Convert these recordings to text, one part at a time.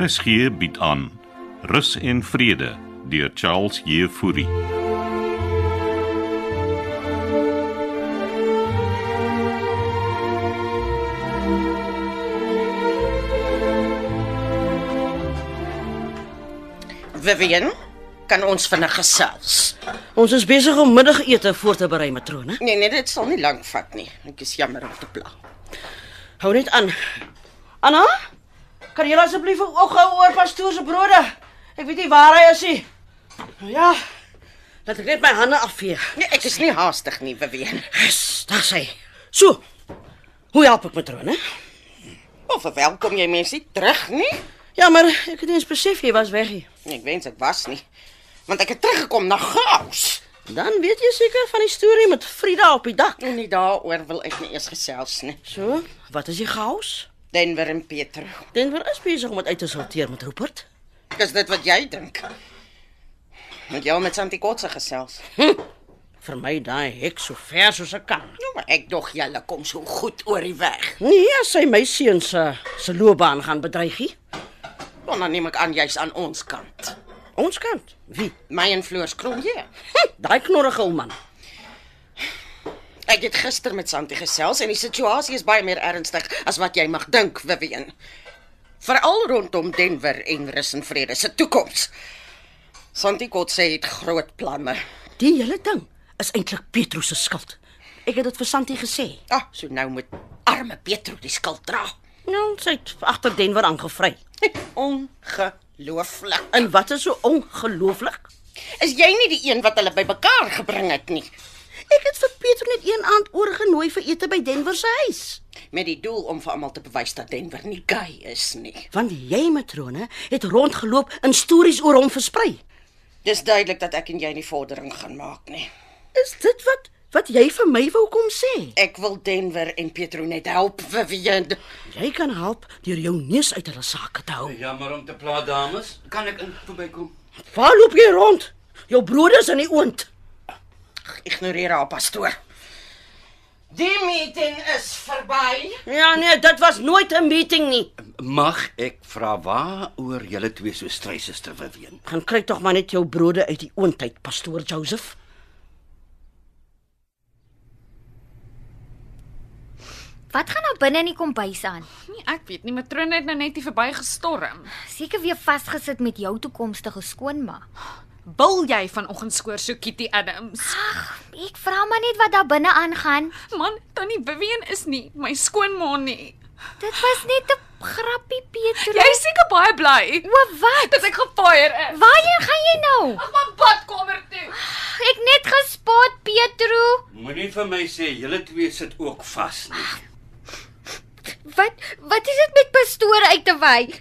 RSG bied aan Rus en Vrede deur Charles Jefouri. Vivian, kan ons vinnig gesels? Ons is besig om middagete voor te berei, matrone. Nee, nee, dit sal nie lank vat nie. Ek is jammer om te pla. Hou net aan. Anna, kan jy asseblief ophou oor pastoor se brode? Ek weet nie waar hy is nie. Nou ja, laat ek net my hande afvee. Nee, ek is nie haastig nie, Vivian. Yes, daar sê. So. Hoe help ek matrone? Of verwelkom jy mense nie terug nie? Nee, Ja, maar ek het nie eens besef jy was weg nie. Ek wens ek was nie, want ek het teruggekom na chaos. Dan weet jy seker van die storie met Frida op die dak. En nie daaroor wil ek nie eers gesels nie. So, wat is die chaos? Denver en Pieter. Denver is besig om dit uit te sorteer met Rupert. Is dit wat jy dink? Moet jy al met Santi Kotse gesels? Vir my daai hek so ver soos ek kan. Nou, maar ek dog julle kom so goed oor die weg. Nee, as hy my seun se se loopbaan gaan bedreigie. Nou, Dan neem ek aan jy's aan ons kant. Ons kant. Wie? My en Floors ja. Kronje. Hm, Daai knorrige ou man. Ek het gister met Santi gesels en die situasie is baie meer ernstig as wat jy mag dink, Vivian. Veral rondom Denver en Rus en Vrede se toekoms. Santi Kotse het groot planne. Die hele ding is eintlik Petrus se skuld. Ek het dit vir Santi gesê. Ah, so nou moet arme Petro die skuld dra. Nou, sy het agter Denver aangevry. Ongelooflik. En wat is so ongelooflik? Is jy nie die een wat hulle bymekaar gebring het nie Ek het vir Petrus net een aand oorgenooi vir ete by Denver se huis. met die doel om vir almal te bewys dat Denver nie gay is nie. Want jy matrone het rondgeloop en stories oor hom versprei. Dis duidelik dat ek en jy nie vordering gaan maak nie. Is dit wat wat jy vir my wou kom sê? Ek wil Denver en Petro net help, Vivian. Jy kan help deur jou neus uit hulle sake te hou. Jammer om te pla dames. Kan ek in verbykom? Waar loop jy rond? Jou broeders in die oond. Ignoreer haar pastoor. Die meeting is verby. Ja nee, dit was nooit 'n meeting nie. Mag ek vra waaroor julle twee so stry suster Vivian? Gaan kry tog maar net jou brode uit die oond uit, pastoor Joseph. Wat gaan nou binne in die kombuis aan? Nee, ek weet nie, matrone het nou net hier verby gestorm. Seker weer vasgesit met jou toekomstige skoonma. Bil jy vanoggend skoor so Kitty Adams? Ek vra maar net wat daar binne aangaan. Man, tannie Vivian is nie my skoonma nie. Dit was net 'n grappie, Petrus. Jy is seker baie bly O, wat? dat ek gefire is. Waarheen gaan jy nou? Ag, my badkamer toe. Ek net gespot, Petrus. Moenie vir my sê julle twee sit ook vas nie. Wat wat is dit met pastoor uit te wy?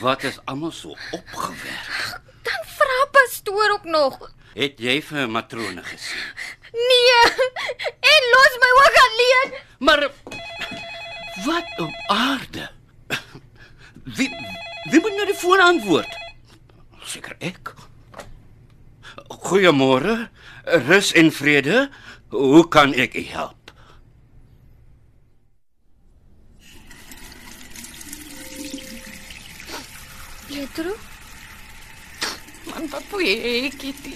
Wat is almal so opgewerk? Dan vra pastoor ook nog. Het jy vir matrone gesien? Nee. En los my ook alleen. Maar wat op aarde? Wie wie moet nou die foon antwoord? Seker ek. Goeiemôre. Rus en vrede. Hoe kan ek u help? Petrus, Man, wat wil jy, Kitty?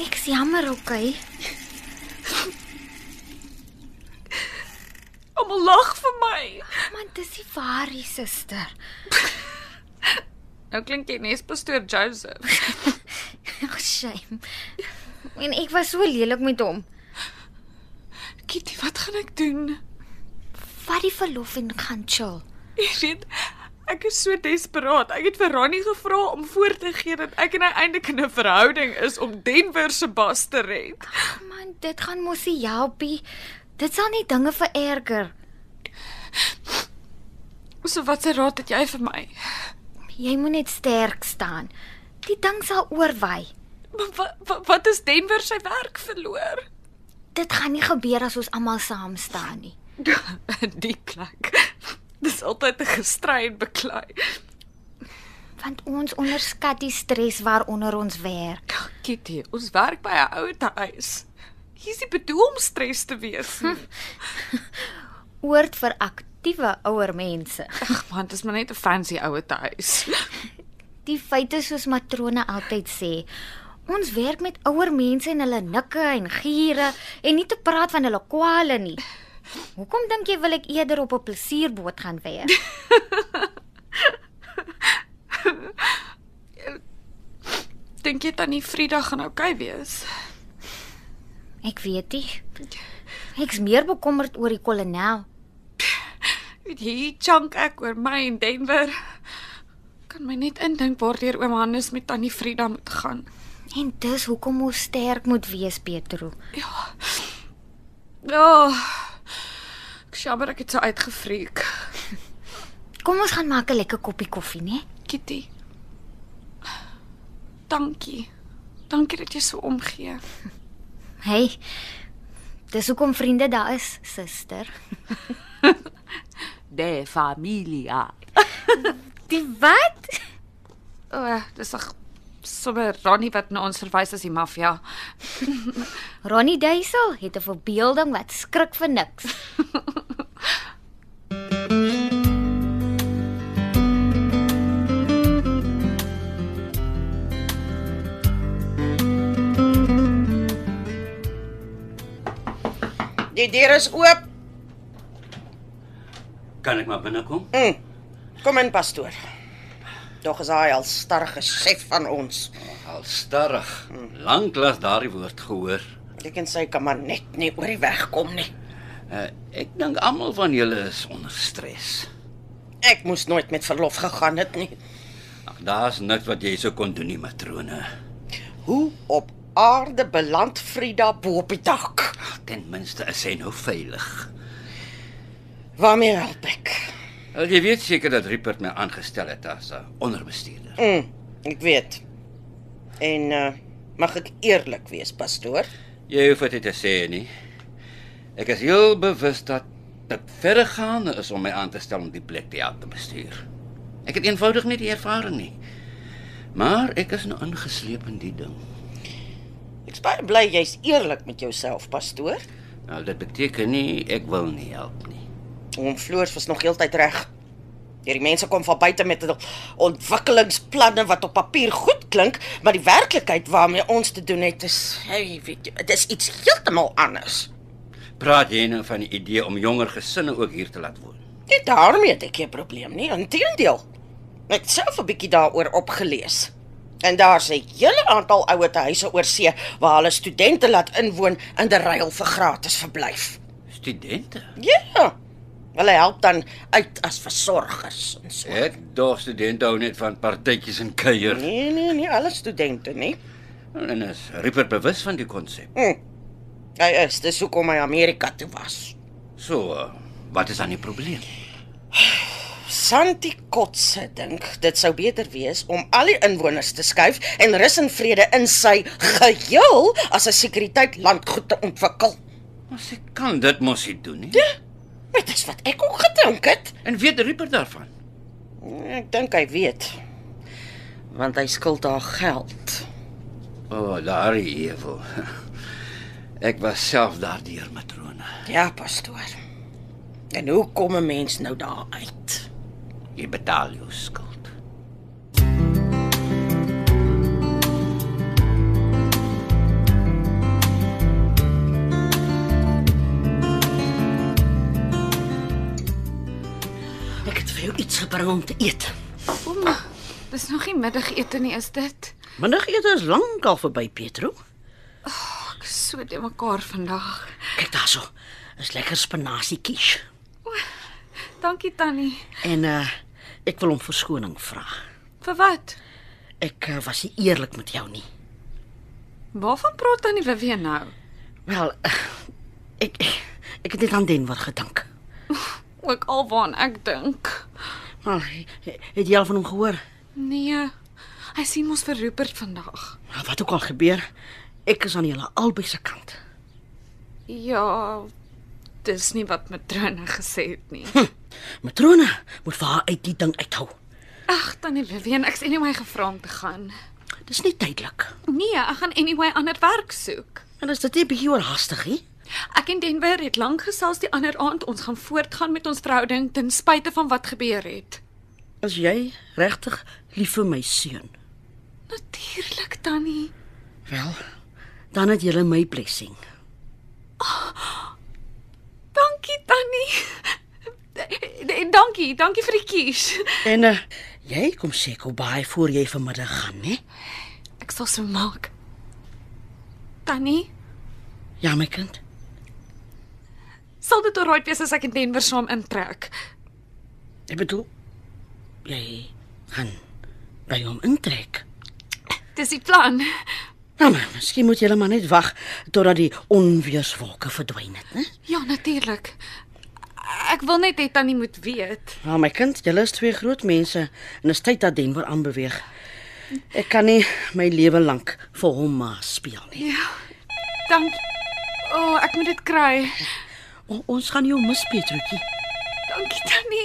ek's jammer, okay? Almal lag vir my. Man, dis nie waar, nie, suster. Nou klink jy nes pastoor Joseph. Ag, Oh, shame. En ek was so lelik met hom. Kitty, wat gaan ek doen? Vat die verlof en gaan chill. Jy weet, ek is so desperaat. Ek het vir Ronnie gevra om voor te gee dat ek en hy eintlik in 'n verhouding is om Denver se bas te red. Man, dit gaan mos nie helpie. Dit sal net dinge vererger. So wat se raad het jy vir my? Jy moet net sterk staan. Die ding sal oorwy. Wat wat, wat is Denver sy werk verloor? Dit gaan nie gebeur as ons almal saam staan nie. Die plek. Dis altyd 'n gestry en beklei. Want ons onderskat die stres waaronder ons werk. Kitty, ons werk by 'n ouete huis. Hm. Hier's nie bedoel om stres te wees nie. Oord vir act sensitiewe ouer mense. Ag man, dis maar net 'n fancy oue huis. Die feite soos matrone altyd sê, ons werk met ouer mense en hulle nikke en giere en nie te praat van hulle kwale nie. Hoekom dink jy wil ek eerder op 'n plesierboot gaan werk? Dink jy tannie Frieda gaan oukei okay wees? Ek weet nie. Ek's meer bekommerd oor die kolonel. Weet jy, chunk ek oor my in Denver. Kan my net indink waardeur oom Hannes met tannie Frieda moet gaan. En dis hoekom ons sterk moet wees, Petro. Ja. Oh, ek sjammer ek het so uitgevreek. Kom ons gaan maak 'n lekker koppie koffie, né? Kitty. Dankie. Dankie dat jy so omgee. Hey. Dis hoekom vriende daar is, suster. de familia. Die wat? O, oh, dis ag sommer Ronnie wat na ons verwys as die maffia. Ronnie Duisel het 'n verbeelding wat skrik vir niks. Die deur is oop. Kan ek maar binnekom? Mm. Kom in, pastoor. Tog is hy al starge chef van ons. Al starrig. Lanklaas daardie woord gehoor. Ek en sy kan maar net nie oor die weg kom nie. Uh, ek dink almal van julle is onder stres. Ek moes nooit met verlof gegaan het nie. Ag, daar's niks wat jy sou kon doen nie, matrone. Hoe op aarde beland Frida bo op die dak? Ag, ten minste is sy nou veilig. Waarmee help ek? Wel, jy weet seker dat Rupert my aangestel het as 'n onderbestuurder. Mm, ek weet. En uh, mag ek eerlik wees, pastoor? Jy hoef dit nie te sê nie. Ek is heel bewus dat dit verregaande is om my aan te stel om die plek te help te bestuur. Ek het eenvoudig nie die ervaring nie. Maar ek is nou ingesleep in die ding. Ek's baie bly jy's eerlik met jouself, pastoor. Nou dit beteken nie ek wil nie help nie. Oom Floors was nog heeltyd reg. Hierdie mense kom van buite met hul ontwikkelingsplanne wat op papier goed klink, maar die werklikheid waarmee ons te doen het is, hey, weet jy, dis iets heeltemal anders. Praat jy nou van die idee om jonger gesinne ook hier te laat woon? Nie daarmee het ek 'n probleem nie, inteendeel. Ek het self 'n bietjie daaroor opgelees. En daar's 'n hele aantal ouete huise oor see waar hulle studente laat inwoon in die ruil vir gratis verblyf. Studente. Ja. Hulle help dan uit as versorgers en so. Ek dog studente hou net van partytjies en kuier. Nee, nee, nie alle studente nee. nie. En is Rupert bewus van die konsep. Hm. Hy is, dis hoekom hy Amerika toe was. So, uh, wat is dan die probleem? Santi Kotse dink dit sou beter wees om al die inwoners te skuif en rus en vrede in sy geheel as 'n sekuriteit landgoed te ontwikkel. Ons ek kan dit mos nie doen nie. Dit is wat ek ook gedink het. Nee, En weet Rupert daarvan? Ek dink hy weet. Want hy skuld haar geld. O, oh, daardie ewel. Ek was self daardeur matrone. Ja, pastoor. En hoe kom 'n mens nou daar uit? Jy betaal jou skuld. Ek het vir jou iets gebring om te eet. Kom. Dis nog nie middagete nie, is dit? Middagete is lankal verby, Petro. Ek is so te mekaar vandag. Kyk daarso. Is lekker spinasiekies. Dankie tannie. En uh ek wil hom verskoning vra. Vir wat? Ek uh, was nie eerlik met jou nie. Waarvan praat tannie Vivian nou? Wel, uh, ek ek het net aan Denver gedink. Ook alwaar ek dink. Maar het jy al van hom gehoor? Nee. Hy sien mos vir Rupert vandag. Nou, Wat ook al gebeur, ek is aan julle albei se kant. Ja. Dis nie wat matrone gesê het nie. Matrone moet vir haar uit die ding uithou. Ag tannie Vivian, ek sien nie my gevra om te gaan. Dis nie tydelik. Nee, ek gaan anyway ander werk soek. En is dit nie 'n bietjie oorhaastig nie? Ek en Denver het lank gesels die ander aand. Ons gaan voortgaan met ons verhouding ten spyte van wat gebeur het. As jy regtig lief vir my seun, Natuurlik, Tannie. wel, dan het jy my blessing. Dankie, Tannie. En dankie, dankie vir die kies. En uh, jy kom seker baie voor jy vanmiddag gaan, né? Ek sal so maak. Tannie, Ja, my kind. sal dit oukei wees as ek in Denver saam intrek? Ek bedoel jy gaan by hom intrek. Dis die plan. Nou maar, miskien moet jy maar net wag totdat die onweerswolke verdwyn het, né? Ja, natuurlik. Ek wil net hê Tannie moet weet. Ja, my kind, julle is twee groot mense en is tyd dat Denver aanbeweeg. Ek kan nie my lewe lank vir hom maar speel nie. Dankie. O, oh, ek moet dit kry. O, ons gaan jou mis, Petrutjie. Dankie Tannie.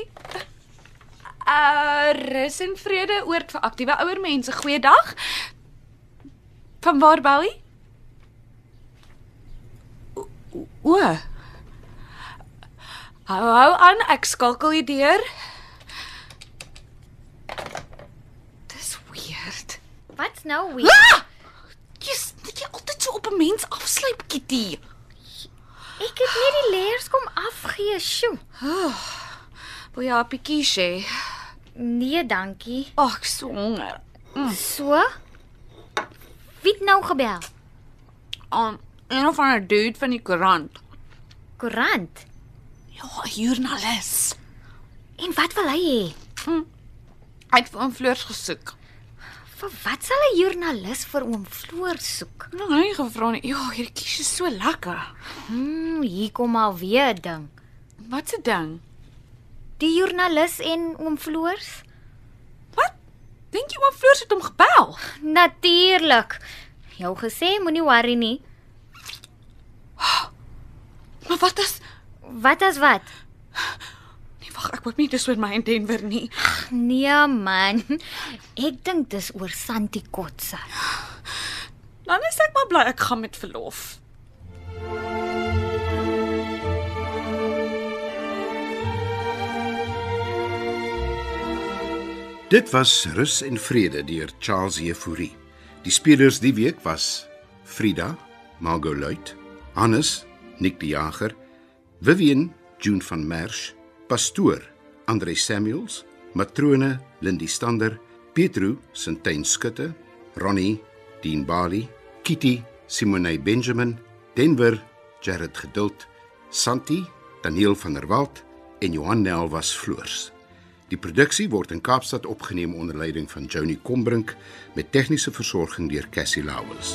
Uh, rus en vrede oort vir aktiewe ouer mense. Goeiedag. Van waar bel jy? O. o. Hou hou aan, ek skakel hier deur. Dis weird. Wat's nou weer? Jy's net jy altyd so op 'n mens afslyp, Kitty. Ek het net die leers kom afgee, sjoe. Wil jy 'n bietjie sê? Nee, dankie. Ag, ek is so honger. So? Wie het nou gebel? Um, een of ander dude van die koerant. Koerant. Ja, 'n joernalis. En wat wil hy hê? Hy het vir oom Fleurs gesoek. Vir wat sal 'n joernalis vir oom Floor soek? Nou hy het gevra nie. Ja, hierdie kies is so lekker. Hmm, hier kom alweer 'n ding. Wat 'n ding. Die joernalis en oom Floors? Wat? Dink jy oom Fleurs het hom gebel? Natuurlik. Jou gesê moenie worry nie. Maar wat as Wat as wat? Nee, wag, ek hoop nie dis oor my in Denver nie. Nee man. Ek dink dis oor Santi Kotse. Dan is ek maar bly ek gaan met verlof. Dit was Rus en Vrede deur Charles Jefouri. Die spelers die week was Frida, Margot Luit, Hannes, Nick die Jager, Vivian, June van Merch, Pastoor, Andre Samuels, Matrone, Lindie Stander, Petru, Sintyn Skutte, Ronnie, Dean Bali, Kitty, Simone Benjamin, Denver, Jared Geduld, Santi, Daniel van der Walt en Johan Nel was floors. Die produksie word in Kaapstad opgeneem onder leiding van Johnny Combrink met tegniese versorging deur Cassie Lauers.